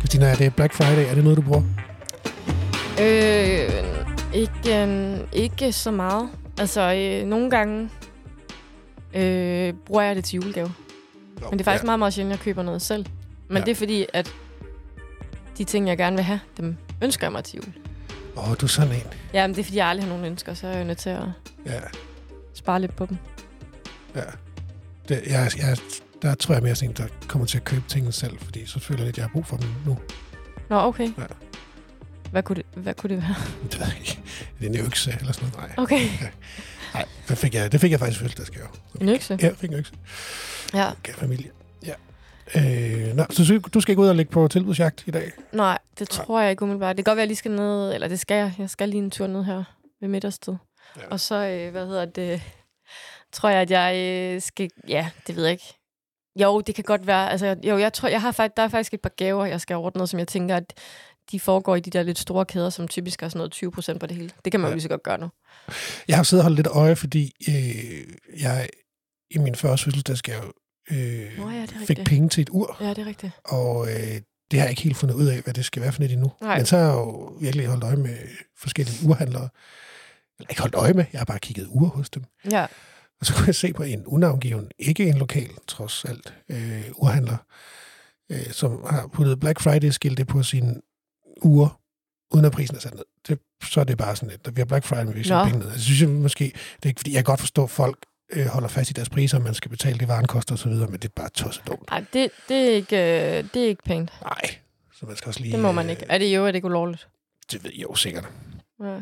Bettina, er det Black Friday? Er det noget, du bruger? Øh, ikke, øh, ikke så meget. Altså, øh, nogle gange øh, bruger jeg det til julegave. Men det er faktisk ja. meget, meget sjældent, at jeg køber noget selv. Men Ja. ja. det er fordi, at de ting, jeg gerne vil have, dem ønsker jeg mig til jul. Åh, oh, du er sådan en. Ja, men det er fordi, jeg aldrig har nogen ønsker, så er jeg jo nødt til at Ja, spare lidt på dem. ja. Det, jeg, jeg, der tror jeg mere sådan en, der kommer til at købe tingene selv, fordi så føler jeg lidt, at jeg har brug for dem nu. Nå, okay. Ja. Ja. Hvad, kunne det, hvad kunne det være? Det ved jeg ikke. Er det en økse eller sådan noget? Nej. Okay. Nej, det fik jeg, det fik jeg faktisk i fødselsdagsgave. En økse? Ja, jeg fik en økse. Ja. Gav familie. Ja. Øh, nå, så sy- du skal ikke ud og ligge på tilbudsjagt i dag? Nej, det tror jeg ikke umiddelbart. Det kan godt være, at jeg lige skal ned, eller det skal jeg. Jeg skal lige en tur ned her ved midtersted. Ja. Ja. Og så, øh, hvad hedder det, tror jeg, at jeg øh, skal, ja, det ved jeg ikke. Jo, det kan godt være. Altså, jeg- jo, jeg tror, jeg har faktisk, der er faktisk et par gaver, jeg skal have ordnet, som jeg tænker, at de foregår i de der lidt store kæder, som typisk har sådan noget 20 procent på det hele. Det kan man Ja. jo lige så godt gøre nu. Jeg har siddet og holdt lidt øje, fordi øh, jeg i min første fødselsdagsgave øh, Nå ja, det er fik rigtigt. penge til et ur, Ja, det er rigtigt. og øh, det har jeg ikke helt fundet ud af, hvad det skal være for net endnu. Nej. Men så har jeg jo virkelig holdt øje med forskellige urhandlere. Eller ikke holdt øje med, jeg har bare kigget ure hos dem. Ja, Og så kunne jeg se på en unavngiven, ikke en lokal, trods alt, øh, urhandler, øh, som har puttet Black Friday-skilte på sine uger, uden at prisen er sat ned. Det, så er det bare sådan lidt, at vi har Black Friday, men vi Nå. sætter penge ned. Altså, synes jeg måske, det er ikke, fordi jeg kan godt forstå, at folk øh, holder fast i deres priser, og man skal betale det, varen koster osv., men det er bare tosset dumt. Ej, det, det, er ikke, øh, det er ikke pænt. Nej, så man skal også lige... Det må man ikke. Er det jo, er det ikke ulovligt? Øh, det ved jeg jo sikkert. Ja.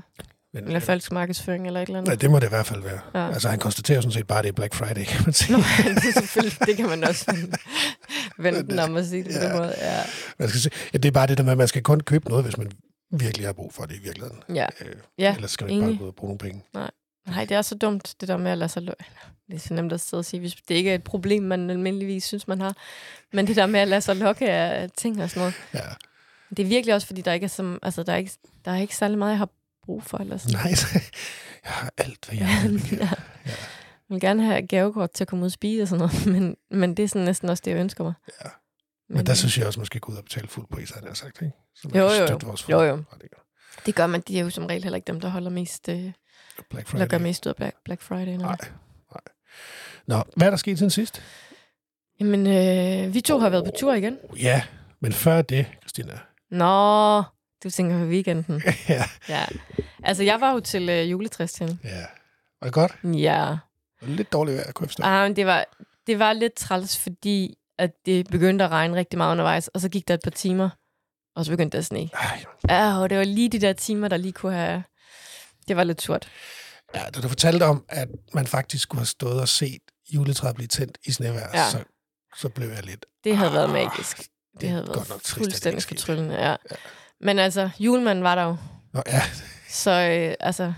Men, Eller falsk markedsføring eller et eller andet. Nej, det må det i hvert fald være. Ja. Ja. Altså, han konstaterer sådan set bare, at det er Black Friday, kan man sige. Nå, det, er selvfølgelig, det kan man også vente den om at sige det på Ja. den måde. Ja. Man skal se, ja, det er bare det der med, at man skal kun købe noget, hvis man virkelig har brug for det i virkeligheden. ja. Øh, Ja, ellers skal man ikke bare enig. gå ud og bruge nogle penge. Nej, det er så dumt, det der med at lade sig løbe. Det er så nemt at sidde og sige, hvis det ikke er et problem, man almindeligvis synes, man har. Men det der med at lade sig lokke af ting og sådan noget. Ja. Det er virkelig også, fordi der ikke er, som, altså, der er, ikke, der er ikke særlig meget, jeg har brug for. Eller sådan. Nej, så, jeg har alt, hvad jeg har. ja. Jeg vil gerne have gavekort til at komme ud og spise og sådan noget, men, men det er sådan næsten også det, jeg ønsker mig. Ja. Men der synes jeg også, man skal gå ud og betale fuld pris, har jeg nær sagt, ikke? Så man Jo, kan jo, jo. støtte vores Jo, jo. forretninger. Det gør man, de er jo som regel heller ikke dem, der holder mest, øh, Black eller gør Friday. mest ud af Black, Black Friday. Nej. Nej, nej. Nå, hvad er der sket siden sidst? Jamen, øh, vi to har været på tur igen. Oh, Ja, men før det, Christina. Nå, du tænker på weekenden. ja, Ja. Altså, jeg var jo til øh, juletræstjen. ja. Var det godt? Ja. Det var lidt dårligt vejr, kunne jeg forstå. Ah, men det, var, det var lidt træls, fordi at det begyndte at regne rigtig meget undervejs, og så gik der et par timer, og så begyndte der at sne. Ej, Ah, og det var lige de der timer, der lige kunne have... Det var lidt surt. Ja, da du fortalte om, at man faktisk skulle have stået og set juletræet blive tændt i snevejr, ja. Ja. så, så blev jeg lidt... Det havde været Ah, magisk. Det, Det havde er godt været nok trist, at det ikke fuldstændig skete. fortryllende, ja. ja. Men altså, julemanden var der jo, Nå, ja, så øh, altså,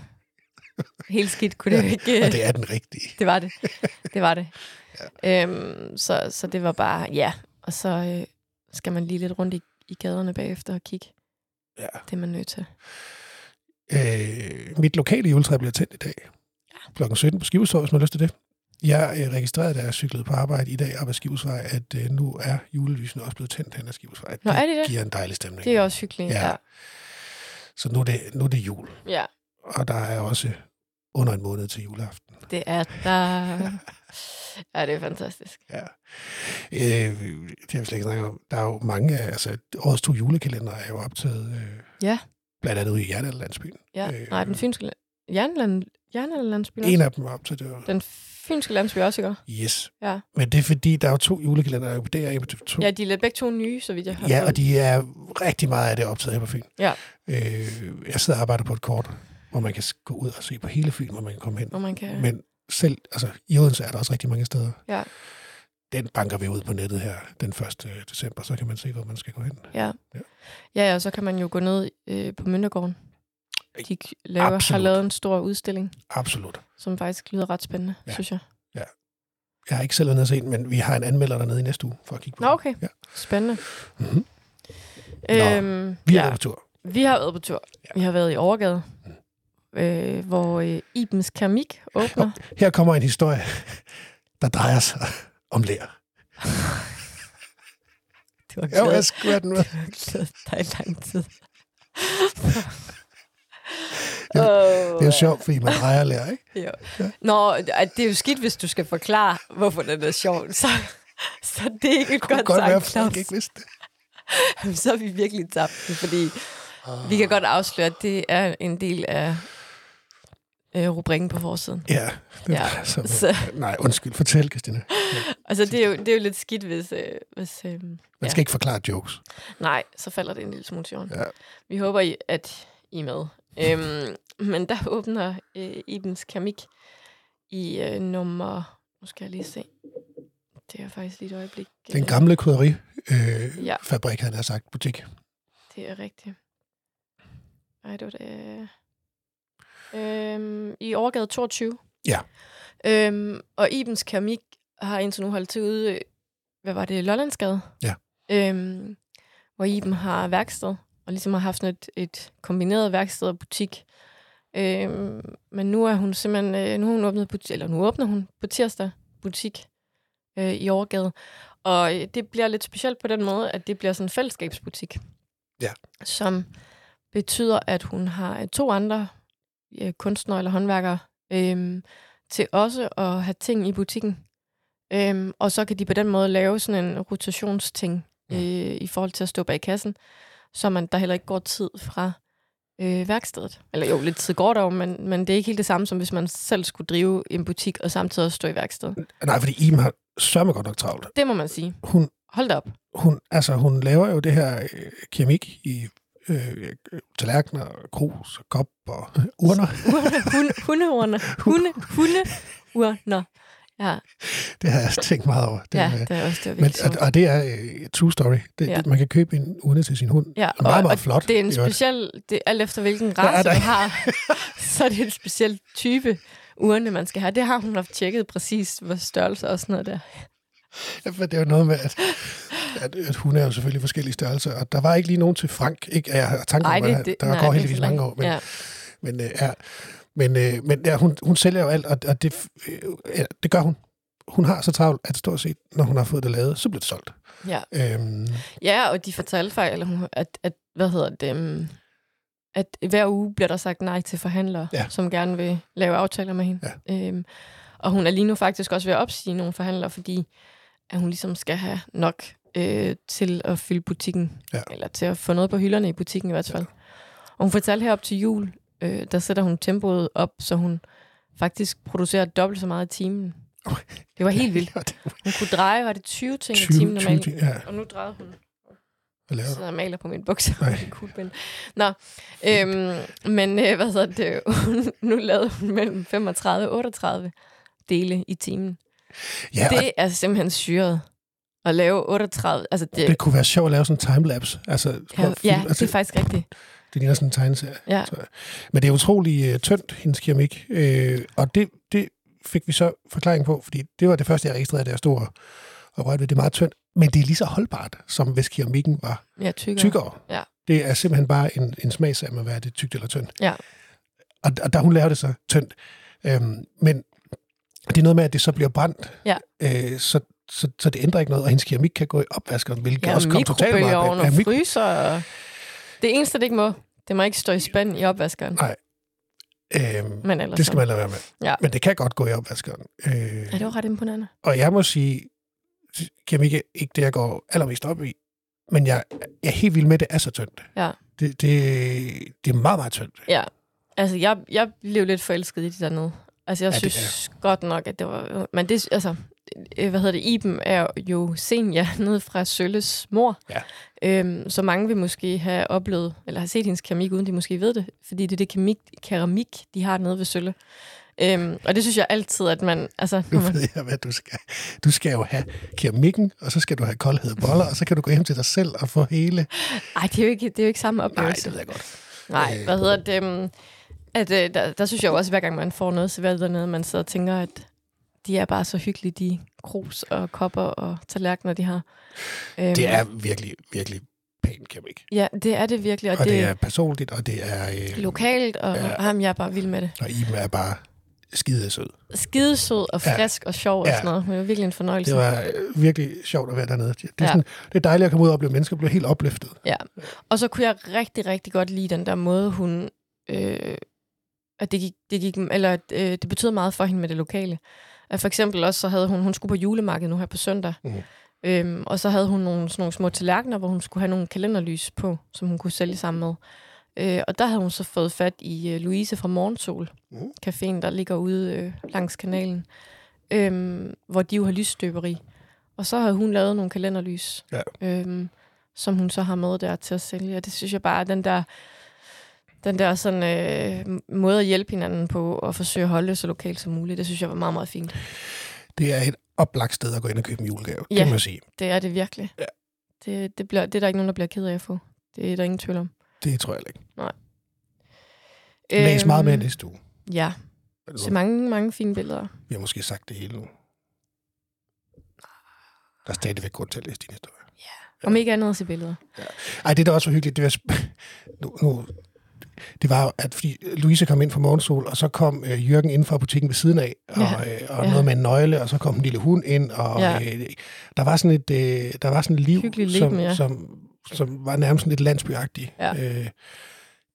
helt skidt kunne det jo ikke... øh, og det er den rigtige. Det var det. Det var det. ja. øhm, så, så det var bare, ja. Og så øh, skal man lige lidt rundt i, i gaderne bagefter og kigge. Ja. Det er man nødt til. Øh, mit lokale juletræ bliver tændt i dag. Klokken 17 på Skivestorv, hvis man har lyst til det. Jeg øh, registrerede, da jeg cyklede på arbejde i dag op ad Skivesvej, at øh, nu er julelysene også blevet tændt hen ad Skivesvej. Nå, er de det? giver en dejlig stemning. Det er også hyggeligt. Ja. Ja. Så nu er, det, nu er det jul, ja. og der er også under en måned til juleaften. Det er der... Ja, det er fantastisk. Ja. Øh, det har vi slet ikke snakket om. Der er jo mange af, altså årets to julekalender er jo optaget øh, Ja. blandt andet ude i Hjernelandsbyen. Ja. Øh. Øh, Nej, den fynske... la- Jernland... Jernlandsby En også? af dem er optaget, det var Den fynske landsby også, ikke? Yes. Ja. Men det er fordi, der er jo to julekalender, der er jo på DR og på TV2. Ja, de er begge to nye, så vidt jeg har Ja, og fået. de er rigtig meget af det optaget her på Fyn. Ja. Øh, jeg sidder og arbejder på et kort, hvor man kan s- gå ud og se på hele Fyn, hvor man kan komme hen. Hvor man kan... Men selv, altså i Odense er der også rigtig mange steder. Ja. Den banker vi ud på nettet her den 1. december, så kan man se, hvor man skal gå hen. Ja. Ja. Ja, og så kan man jo gå ned øh, på Møndergården. De k- laver, har Absolut. lavet en stor udstilling, Absolut. som faktisk lyder ret spændende, Ja. ja. synes jeg. Jeg har ikke selv været nede og set, den, men vi har en anmelder dernede i næste uge for at kigge på Nå, den. okay. Ja. Spændende. Mhm. Øhm, Vi er ja. ja. på tur. vi har været på tur. Ja. Mm. Vi har været i Overgade, øh, hvor øh, Ibens Keramik åbner. Her kommer en historie, der drejer sig om lær. Du var Jo, glad. jeg skulle den med. Det har glædet dig i lang tid. Åh, Det er jo sjovt, fordi man drejer og lærer, ikke? Jo. Nå, at det er jo skidt, hvis du skal forklare, hvorfor den er sjov. Så, så det er ikke Det et kunne godt, godt være, at godt folk sagt, ikke vidste det. Claus. Så er vi virkelig tabt den, fordi vi kan godt afsløre, at det er en del af øh, rubrikken på forsiden. Ja, det Ja, var så, Så, Nej, undskyld. Fortæl, Christina. altså, det er, jo, det er jo lidt skidt, hvis... Øh, hvis øh, Man Ja. skal ikke forklare jokes. nej, så falder det en lille smule til jorden. Ja. Vi håber, I- at I er med. Øhm, men der åbner øh, Ibens Kamik i øh, nummer... Nu skal jeg lige se. Det er faktisk lige et øjeblik. Den øh, gamle krydderifabrik, øh, Ja. ja. fabrik, han har sagt, butik. Det er rigtigt. Ej, det var det. Øhm, I overgade 22. Ja. Øhm, og Ibens Keramik har indtil nu holdt til ude, øh, hvad var det, Lollandsgade? Ja. Øhm, hvor Iben har værksted, og ligesom har haft sådan et, et kombineret værksted og butik. Øhm, men nu er hun simpelthen, øh, nu har hun åbnet butik, eller nu åbner hun på tirsdag butik øh, i overgade. Og øh, det bliver lidt specielt på den måde, at det bliver sådan en fællesskabsbutik som betyder, at hun har øh, to andre øh, kunstnere eller håndværkere øhm, til også at have ting i butikken. Øhm, og så kan de på den måde lave sådan en rotationsting Ja. øh, i forhold til at stå bag kassen, så man der heller ikke går tid fra øh, værkstedet. Eller jo, lidt tid går der jo, men, men det er ikke helt det samme, som hvis man selv skulle drive en butik og samtidig også stå i værkstedet. Nej, fordi Iben har sørme godt nok travlt. Det må man sige. Hun, Hold da op. hun, altså, hun laver jo det her øh, keramik i øh, øh, tallerkener, og krus, og kop og urner. Hunde, hundeurner. Hunde, hundeurner. Ja, Det har jeg tænkt meget over. Det, ja, øh, det er også det var men, virkelig og, sjovt. og det er øh, true story. Det, Ja. ja. det, man kan købe en urne til sin hund. Ja, og meget, og- meget og flot. Det er en i øvrigt. speciel, det, alt efter hvilken er race der man ikke. har, så er det en speciel type urne, man skal have. Det har hun haft tjekket præcis, hvor størrelse og sådan noget der. Ja, for det er jo noget med, at, at, at hun er jo selvfølgelig forskellige størrelser, og der var ikke lige nogen til Frank. Ikke? Jeg har tanker om, at der går det er heldigvis så langt. mange år, men, Ja, Men, øh, ja. men, øh, men ja, hun, hun sælger jo alt, og, og det, øh, ja, det gør hun. Hun har så travlt, at stort set, når hun har fået det lavet, så bliver det solgt. ja. Øhm, ja, og de fortalte faktisk, eller hun- at, at, hvad hedder det, øhm, at hver uge bliver der sagt nej til forhandlere, Ja. som gerne vil lave aftaler med hende. Ja. Øhm, og hun er lige nu faktisk også ved at opsige nogle forhandlere, fordi at hun ligesom skal have nok øh, til at fylde butikken, Ja. eller til at få noget på hylderne i butikken i hvert fald. Ja. Og hun fortalte herop til jul, øh, der sætter hun tempoet op, så hun faktisk producerer dobbelt så meget i timen. Det var helt vildt. ja, det er Hun kunne dreje, var det 20 ting i 20, timen 20, normalt? 20, ja, Og nu drejede hun hvad laver du? sidder og maler på mine bukser. Nej. med kuglepen. Nå, øhm, men øh, hvad så det? Hun, nu lavede hun mellem 35 og 38 dele i timen. Ja, altså- Ja, det, det er simpelthen syret at lave 38. Altså det, det kunne være sjovt at lave sådan en timelapse. Altså, ja, film, ja, det altså, er faktisk rigtigt. det ligner sådan en tegneserie. Ja. Så, men det er utrolig øh, tyndt, hendes keramik. Øh, og det, det fik vi så forklaring på, fordi det var det første, jeg registrerede, da jeg stod og, og rørte ved. Det er meget tyndt, men det er lige så holdbart, som hvis keramikken var Ja, tykkere. tykkere. Ja. Det er simpelthen bare en, en smagsag med, hvad er det tykt eller tyndt. Ja. Og, og der hun laver det så tyndt. Øhm, men det er noget med, at det så bliver brændt, Ja. øh, så, så, så det ændrer ikke noget, og hendes keramik kan gå i opvaskeren, hvilket Ja, også kom totalt meget mikrobølgeovn bag- og Ja, mik- fryser. Og... Det eneste, det ikke må, det må ikke stå i spand i opvaskeren. øhm, Men ellers Det skal så- man lade være med. Ja. Men det kan godt gå i opvaskeren. Øh, Ja, det var ret imponerende. og jeg må sige, keramik er ikke det, jeg går allermest op i, men jeg, jeg er helt vild med, at det er så tyndt. Ja. Det, det, det er meget, meget tyndt. Ja, altså jeg, jeg blev lidt forelsket i det dernede. Altså jeg Ja, ja, det synes det godt nok, at det var... Men det, altså, øh, hvad hedder det, Iben er jo senior nede fra Sølles mor. Ja. Øhm, så mange vil måske have oplevet, eller har set hendes keramik, uden de måske ved det, fordi det er det keramik, keramik de har nede ved Sølle. Øhm, og det synes jeg altid, at man... Altså, Nu når man ved jeg, hvad du skal. Du skal jo have keramikken, og så skal du have koldhed boller, og så kan du gå hjem til dig selv og få hele... ej, det er jo ikke, det er jo ikke samme oplevelse. ved jeg godt. Øh, Nej, hvad hedder det? øhm, At, øh, der, der synes jeg jo også, at hver gang man får noget serveret dernede, man sidder og tænker, at de er bare så hyggelige, de krus og kopper og tallerkener, de har. Øhm, Det er virkelig, virkelig pæn keramik. Ja, det er det virkelig, og, Og det er er personligt, og det er... Øh, lokalt, og Ja. ja. ham, jeg er bare vild med det. og Iben er bare skide sød. Skidesød og Ja. frisk og sjov og Ja. sådan noget. Hun var virkelig en fornøjelse. Det var øh, virkelig sjovt at være dernede. Det er, Ja. sådan, det er dejligt at komme ud og opleve mennesker, blive helt opløftet. Ja, og så kunne jeg rigtig, rigtig godt lide den der måde, hun... Øh, at det gik, det gik, eller at, øh, det betød meget for hende med det lokale. At for eksempel også, så havde hun, hun skulle på julemarkedet nu her på søndag. Mhm. Mm. Øhm, og så havde hun nogle, sådan nogle små tallerkener, hvor hun skulle have nogle kalenderlys på, som hun kunne sælge sammen med. Øh, og der havde hun så fået fat i øh, Louise fra Morgensol, Mhm. mm. caféen, der ligger ude øh, langs kanalen, øhm, hvor de jo har lysstøberi. Og så havde hun lavet nogle kalenderlys. Ja. Øhm, som hun så har med der til at sælge. Og det synes jeg bare, at den der, den der sådan, øh, måde at hjælpe hinanden på og forsøge at holde det så lokalt som muligt, det synes jeg var meget, meget fint. Det er et oplagt sted at gå ind og købe en julegave, ja. Ja. det må jeg sige. Det er det virkelig. Ja. Det, det, bliver, det er der ikke nogen, der bliver ked af at få. Det er der ingen tvivl om. Det tror jeg heller ikke. Læs meget med næste uge. Øhm, Ja, Eller så mange, mange fine billeder. Vi har måske sagt det hele nu. Der er stadigvæk grund til at læse din historie. Om ikke andet at se billeder. Ej, det der også var hyggeligt, det var... sp- Nu, nu, det var, jo, at fordi Louise kom ind fra morgensol, og så kom øh, Jørgen ind fra butikken ved siden af, og, Ja, øh, og ja. noget med en nøgle, og så kom en lille hund ind, og Ja. øh, der var sådan et øh, der var sådan et liv, Hyggeligt som, leben, ja. som, som var nærmest sådan lidt landsbyagtigt. Ja. Øh,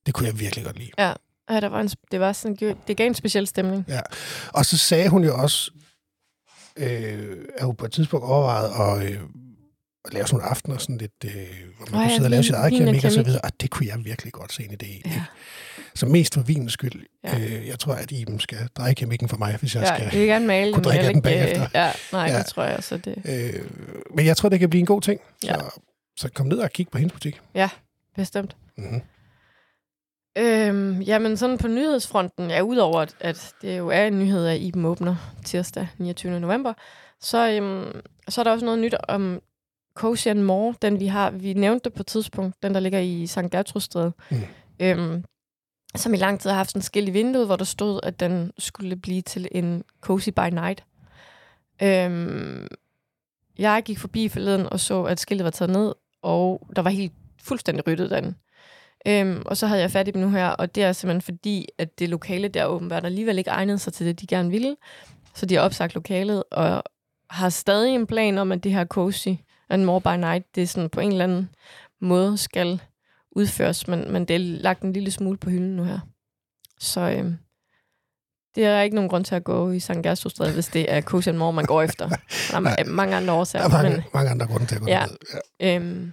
det kunne jeg virkelig godt lide. Ja, der var en, det, var sådan, det gav en speciel stemning. Og så sagde hun jo også, øh, at hun på et tidspunkt overvejede at, øh, at lave sådan nogle aftener, sådan lidt, øh, hvor man kunne Åh ja, sidde og lave vin- sit eget vin og keramik og så keramik. videre. Og det kunne jeg virkelig godt se en idé i. Ja. ikke? Så mest for vinens skyld. Ja. Øh, jeg tror, at Iben skal dreje kemikken for mig, hvis jeg Ja, skal. jeg vil gerne male kunne den, men jeg drikke vil af den ikke, øh, Ja, nej, Ja. det tror jeg også. at Det Øh, men jeg tror, det kan blive en god ting. Ja. Så, så kom ned og kig på hendes butik. bestemt. Mm-hmm. Øhm, jamen sådan på nyhedsfronten, ja, udover at, at det jo er en nyhed, at Iben åbner tirsdag 29. november, så, øhm, så er der også noget nyt om Cozy and More, den vi har, vi nævnte det på et tidspunkt, den der ligger i St. Gertrudstræde, Mm. mm. øhm, som i lang tid har haft sådan et skilt i vinduet, hvor der stod, at den skulle blive til en Cozy by Night. Øhm, jeg gik forbi forleden og så, at skiltet var taget ned, og der var helt fuldstændig ryddet derinde. Øhm, og så havde jeg fat i dem nu her, og det er simpelthen fordi, at det lokale der åbenbart alligevel ikke egnede sig til det, de gerne ville. Så de har opsagt lokalet, og har stadig en plan om, at det her cozy and more by night, det er sådan på en eller anden måde skal udføres, men, men det er lagt en lille smule på hylden nu her. Så øhm, det er ikke nogen grund til at gå i St. Gerstrudstræde, hvis det er cozy and more, man går efter. Der er ma- mange andre Der årsager. er mange, men- mange andre grunde til at gå Ja. ned. Ja. Øhm,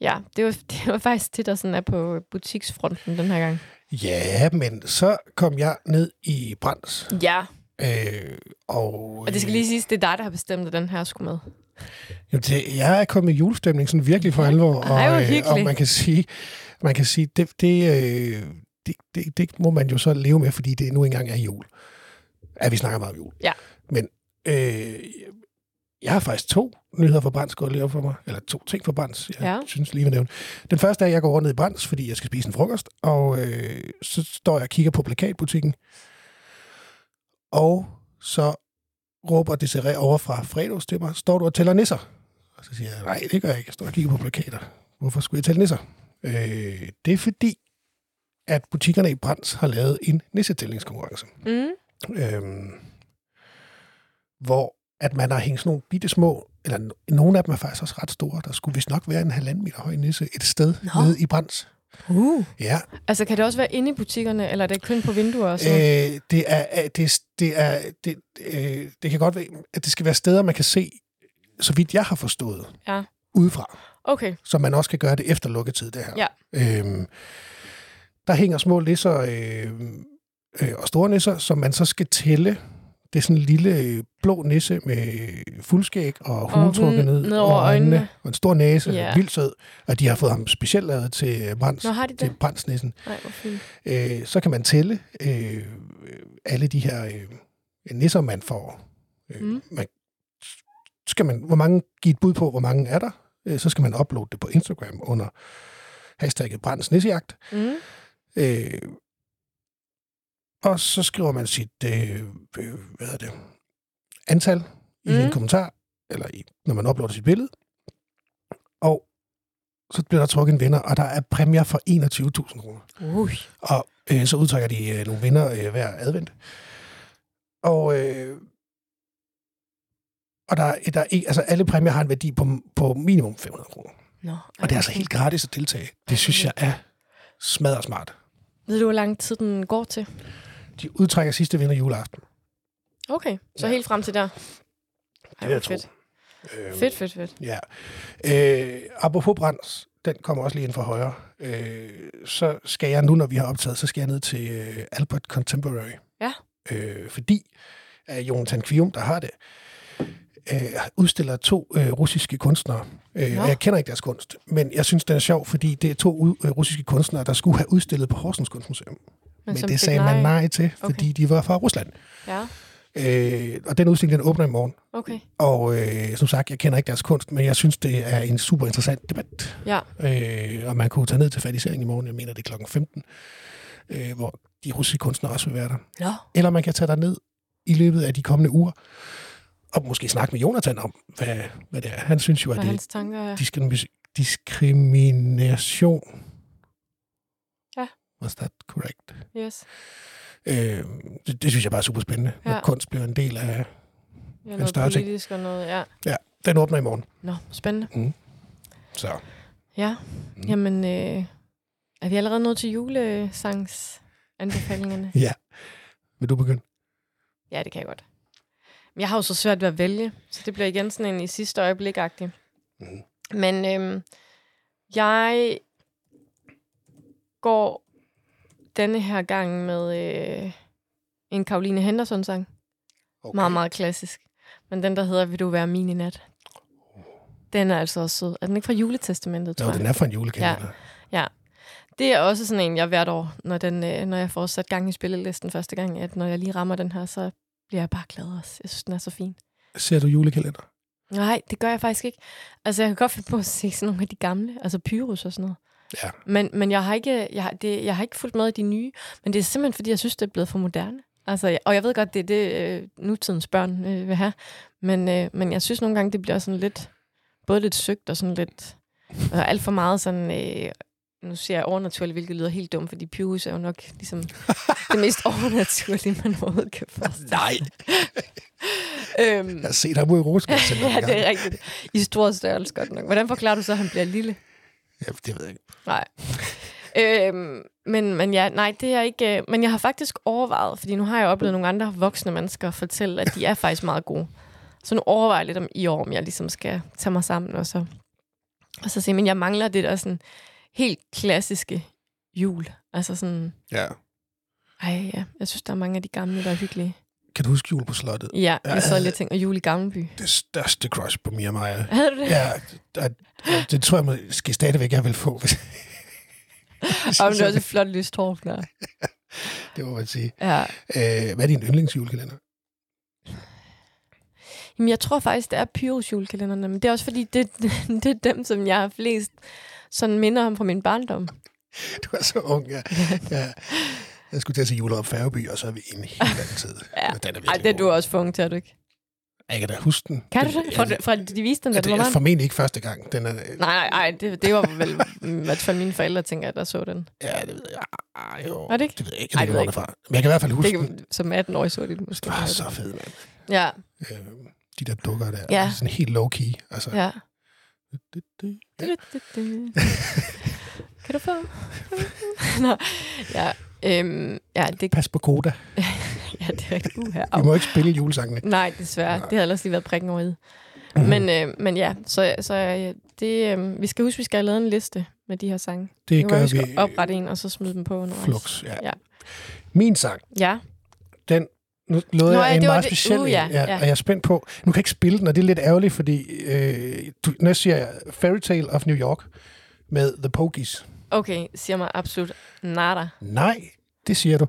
ja, det var, det var faktisk det, der sådan er på butiksfronten den her gang. ja, men så kom jeg ned i Brands. Ja, Øh, og, og det skal lige siges, det er dig, der har bestemt, at den her skulle med. Jamen, det, jeg er kommet i julestemning sådan virkelig for alvor, og, Ej, hvor øh, og hyggeligt. man kan sige, man kan sige det, det, øh, det, det, det må man jo så leve med, fordi det nu engang er jul. Ja, vi snakker meget om jul. Ja. Men øh, jeg har faktisk to nyheder for Brands gået lige op for mig, eller to ting for Brands, jeg ja. Ja. synes lige vil nævne. Den første er, at jeg går over ned i Brands, fordi jeg skal spise en frokost, og øh, så står jeg og kigger på plakatbutikken, og så råber Desiree over fra fredags til mig, står du og tæller nisser? Og så siger jeg, nej, det gør jeg ikke. Jeg står og kigger på plakater. Hvorfor skulle jeg tælle nisser? Øh, det er fordi, at butikkerne i Brands har lavet en nissetællingskonkurrence. Mm. Øhm, hvor at man har hængt sådan nogle bitte små, eller no- nogle af dem er faktisk også ret store, der skulle vist nok være en halvanden meter høj nisse et sted Nå. nede i Brands. Uh. Ja, Altså, kan det også være inde i butikkerne, eller er det kun på vinduer og sådan Øh, det er, øh, det, er- det er, det, øh, det kan godt være, at det skal være steder, man kan se, så vidt jeg har forstået, Ja. udefra. Okay, Så man også kan gøre det efter lukketid, det her. Ja. Øhm, der hænger små nisser øh, øh, og store nisser, som man så skal tælle. Det er sådan en lille øh, blå nisse med fuldskæg og hue hun trukket ned, ned over øjnene. Og en stor næse, Ja. vildt sød. Og de har fået ham specielt lavet til øh, Brands, Nå, har de det? til Brandsnissen. nej, hvor fint. Øh, så kan man tælle øh, alle de her øh, nisser, man får. Øh, mm. Mm. man, skal man, hvor mange, give et bud på, hvor mange er der. Øh, så skal man uploade det på Instagram under hashtagget Brands Nissejagt. Mm. Øh, og så skriver man sit, øh, øh, hvad er det, antal i mm. en Mm. kommentar, eller i, når man uploader sit billede. Og så bliver der trukket en vinder, og der er præmier for 21.000 kroner. Ui. Og øh, så udtrækker de øh, nogle vinder øh, hver advent. Og, øh, og der, er- der er, ikke- altså alle præmier har en værdi på, på minimum 500 kroner. Nå, Og det er altså helt gratis at deltage. Det synes jeg er smadret smart. Ved du, hvor lang tid den går til? De udtrækker sidste vinder juleaften. Okay, så Ja. ja. helt frem til der. Ej, vil jeg hvor fedt. Øh, fedt, fedt, fedt. Ja. Øh, apropos Brands, den kommer også lige ind fra højre. Øh, så skal jeg nu, når vi har optaget, så skal jeg ned til øh, Albert Contemporary. Ja. Øh, fordi øh, Jonathan Kvium, der har det, øh, udstiller to øh, russiske kunstnere. Øh, Nå. og jeg kender ikke deres kunst, men jeg synes, den er sjov, fordi det er to ud, øh, russiske kunstnere, der skulle have udstillet på Horsens Kunstmuseum. Men, men som det fik sagde man nej til, fordi de var fra Rusland. Ja, Øh, og den udstilling, den åbner i morgen. okay. Og øh, som sagt, jeg kender ikke deres kunst, men jeg synes, det er en super interessant debat. Ja, Øh, og man kunne tage ned til fatisering i morgen, jeg mener, det er klokken 15, øh, hvor de russiske kunstnere også vil være der. nå. Eller man kan tage der ned i løbet af de kommende uger, og måske snakke med Jonathan om, hvad, hvad det er. Han synes jo, at Hvad det er hans tanker er. diskrimi- diskrimination. Ja. Was that correct? Yes. Øh, det, det synes jeg bare er super spændende, ja. når Ja. kunst bliver en del af... Ja, En noget større ting. politisk og noget, ja. Ja, den åbner i morgen. Nå, spændende. Så. Mm. Ja, mm. jamen, øh, er vi allerede nået til julesangs anbefalingerne? Ja. Vil du begynde? ja, det kan jeg godt. Men jeg har jo så svært ved at vælge, så det bliver igen sådan en i sidste øjeblik-agtig. Mhm. Mm. Men øh, jeg går denne her gang med øh, en Karoline Henderson-sang. Okay. Okay. Meget, meget klassisk. Men den, der hedder Vil du være min i nat? Den er altså også sød. Er den ikke fra juletestamentet, tror Oh. Nå, jeg? den er for en julekalender. Det er også sådan en, jeg hvert år, når, den, øh, når jeg får sat gang i spillelisten første gang, at når jeg lige rammer den her, så bliver jeg bare glad også. Jeg synes, den er så fin. Ja. Ser du julekalender? Nej, det gør jeg faktisk ikke. Altså, jeg kan godt finde på at se sådan nogle af de gamle, altså Pyrus og sådan noget. Ja. Men, men jeg, har ikke, jeg, har, det, jeg har ikke fulgt med i de nye, men det er simpelthen, fordi jeg synes, det er blevet for moderne. Altså, jeg- og jeg ved godt, det er det, øh, nutidens børn øh, vil have, men, øh, men jeg synes nogle gange, det bliver sådan lidt, både lidt søgt og sådan lidt, og alt for meget sådan, øh, nu siger jeg overnaturligt, hvilket lyder helt dumt, fordi Pyrus er jo nok ligesom det mest overnaturlige, man overhovedet kan forestille. Nej. Øhm, Jeg har set ham ude i Rosgaard. ja, det er rigtigt. I stor størrelse godt nok. Hvordan forklarer du så, at han bliver lille? ja, det ved jeg ikke. Nej. øhm, men, men ja, nej, det er ikke... øh, Men jeg har faktisk overvejet, fordi nu har jeg oplevet nogle andre voksne mennesker fortælle, at de er faktisk meget gode. Så nu overvejer jeg lidt om i år, om jeg ligesom skal tage mig sammen og så, og så se. Men jeg mangler det der sådan helt klassiske jul. Altså sådan... Ja. Ej, ja. Jeg synes, der er mange af de gamle, der er hyggelige. Kan du huske jul på slottet? Ja, jeg sad lige og tænkte, og jul i Gammelby. Det største crush på Mia Maja. Havde du det? Ja, det, det tror jeg måske stadigvæk, jeg vil få. Hvis... og det var også et flot lyst hår, klar. det må man sige. Ja. Øh, hvad er din yndlingsjulekalender? Jamen, jeg tror faktisk, det er Pyrus julekalenderne, men det er også fordi, det, det er dem, som jeg har flest sådan minder om fra min barndom. Du er så ung, ja. ja. Jeg skulle til at sige juleop Færgeby, og så er vi en helt anden tid. Ja. Men Den er Ej, virkelig det er du god. også for ung til, er du ikke? Jeg kan da huske den. Kan Den- du det? Ja, Fra, fra de viste den, da ja, du det var er barn? formentlig ikke første gang. Den er, Nej, nej, nej, det, det var vel i hvert fald mine forældre, tænker jeg, der så den. Ja, det ved jeg. Ej, jo. Var det ikke? Det ved jeg ikke, Ej, jeg ved det ikke, ved hvor jeg den er fra. Men jeg kan i hvert fald det huske den. kan, som 18-årig så de den måske. Det var så fedt, mand. Ja, Øh, de der dukker der, Ja. ja. sådan helt low-key. Altså, ja. ja. det, det. Du, du, du, du. kan du få? Nå, ja, øhm, ja, det, Pas på Koda. ja, det er rigtigt. Uha, Vi au. må ikke spille julesangene. Nej, desværre. Nej. Nej. Det havde ellers lige været prikken over i. Men, øh, men ja, så, så øh, det, øh, vi skal huske, vi skal have lavet en liste med de her sange. Det Nu gør vi. vi skal oprette en, og så smide dem på undervejs. flux. Ja. Ja. Min sang, Ja, nu lovede Nå, jeg ja, en det var meget det. speciel Uh, en, ja, ja, ja. og jeg er spændt på. Nu kan jeg ikke spille den, og det er lidt ærgerligt, fordi øh, du, nu siger jeg Fairy Tale of New York med The Pogies. okay, siger mig absolut nada. Nej, det siger du.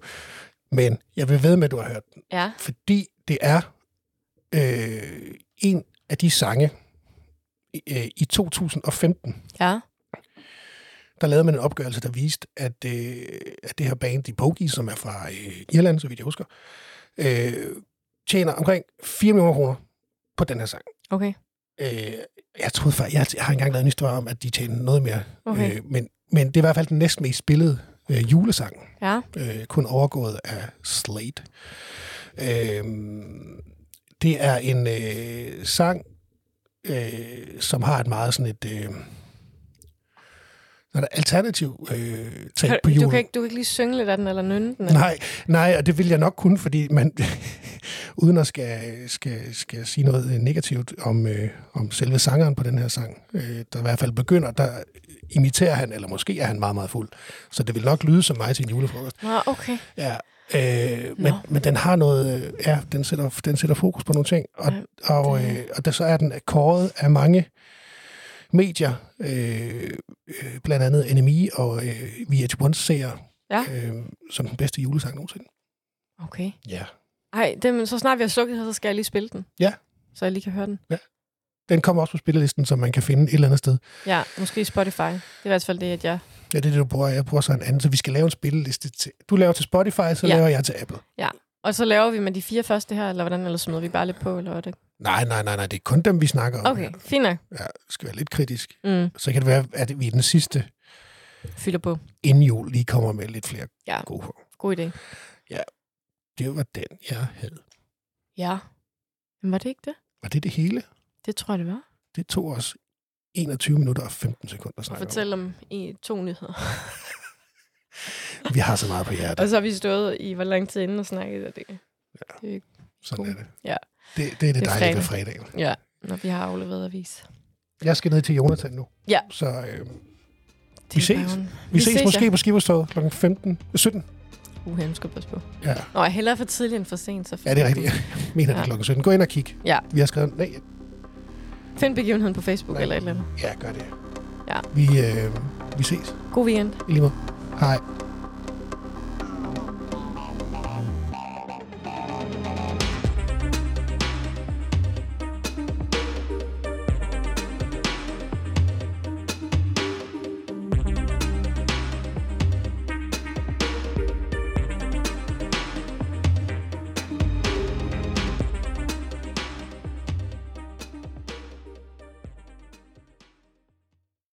Men jeg vil ved med, at du har hørt den, Ja, fordi det er øh, en af de sange øh, i 2015, ja, der lavede man en opgørelse, der viste, at, øh, at det her band, de Bogies, som er fra øh, Irland, så vidt jeg husker, øh, tjener omkring 4 millioner kroner på den her sang. okay, Øh, jeg troede før, jeg, jeg har engang lavet en historie om, at de tjener noget mere. Okay. Øh, men, men det er i hvert fald den næst mest spillede øh, julesang, ja, øh, kun overgået af Slate. Øh, det er en øh, sang, øh, som har et meget sådan et... Øh, sådan et alternativ øh, tag på julen. Du kan, ikke, du kan ikke lige synge lidt af den eller nynne den? eller- Nej, nej, og det vil jeg nok kunne, fordi man, uden at skal, skal, skal sige noget negativt om, øh, om selve sangeren på den her sang, øh, der i hvert fald begynder, der imiterer han, eller måske er han meget, meget fuld. Så det vil nok lyde som mig til en julefrokost. Nå, okay. Ja, øh, men, Nå. men den har noget, øh, ja, den sætter, den sætter fokus på nogle ting, og, Ja, og, det- øh, og der, så er den kåret af mange medier, øh, øh, blandt andet NMI og øh, VH1-seere, Ja. øh, som den bedste julesang nogensinde. Okay. Ja. Ej, det, så snart vi har slukket her, så skal jeg lige spille den. Ja. Så jeg lige kan høre den. Den kommer også på spillelisten, som man kan finde et eller andet sted. Ja, måske Spotify. Det er i hvert fald det, at jeg... Ja, det er det, du bruger. Jeg bruger så en anden, så vi skal lave en spilleliste til... Du laver til Spotify, så Ja. ja. laver jeg til Apple. Og så laver vi med de fire første her, eller hvordan? Eller smider vi bare lidt på, eller hvad er det? Nej, nej, nej, nej. Det er kun dem, vi snakker om. Okay, fint nok. Ja, det skal være lidt kritisk. Mm, Så kan det være, at vi i den sidste fylder på. inden jul lige kommer med lidt flere Ja. ja. gode håb. God idé. Det var den, jeg havde. Ja. Men var det ikke det? Var det det hele? Det tror jeg, det var. Det tog os 21 minutter og 15 sekunder at snakke Fortæl om i to nyheder. om. Vi har så meget på hjertet. Og så har vi stået i hvor lang tid inden og snakket af det. Sådan er det. Ja. Det, det er det, Det er dejlige ved fredagen. Ja, når vi har afleveret avis. Jeg skal ned til Jonathan nu. Ja. Så øh, vi, Det Vi ses. vi ses, ses måske Ja. på Skibberstoget kl. 15, 17. Uh, han skal passe på. Øh, Ja. Nå, hellere for tidligt end for sent. Så Ja, det er rigtigt. Jeg mener det Ja. er klokken 17. Gå ind og kig. Ja. Vi har skrevet... Nej, Find begivenheden på Facebook Nej. eller et eller andet. ja, gør det. Ja. Vi, øh, vi ses God weekend. i lige måde. Hej.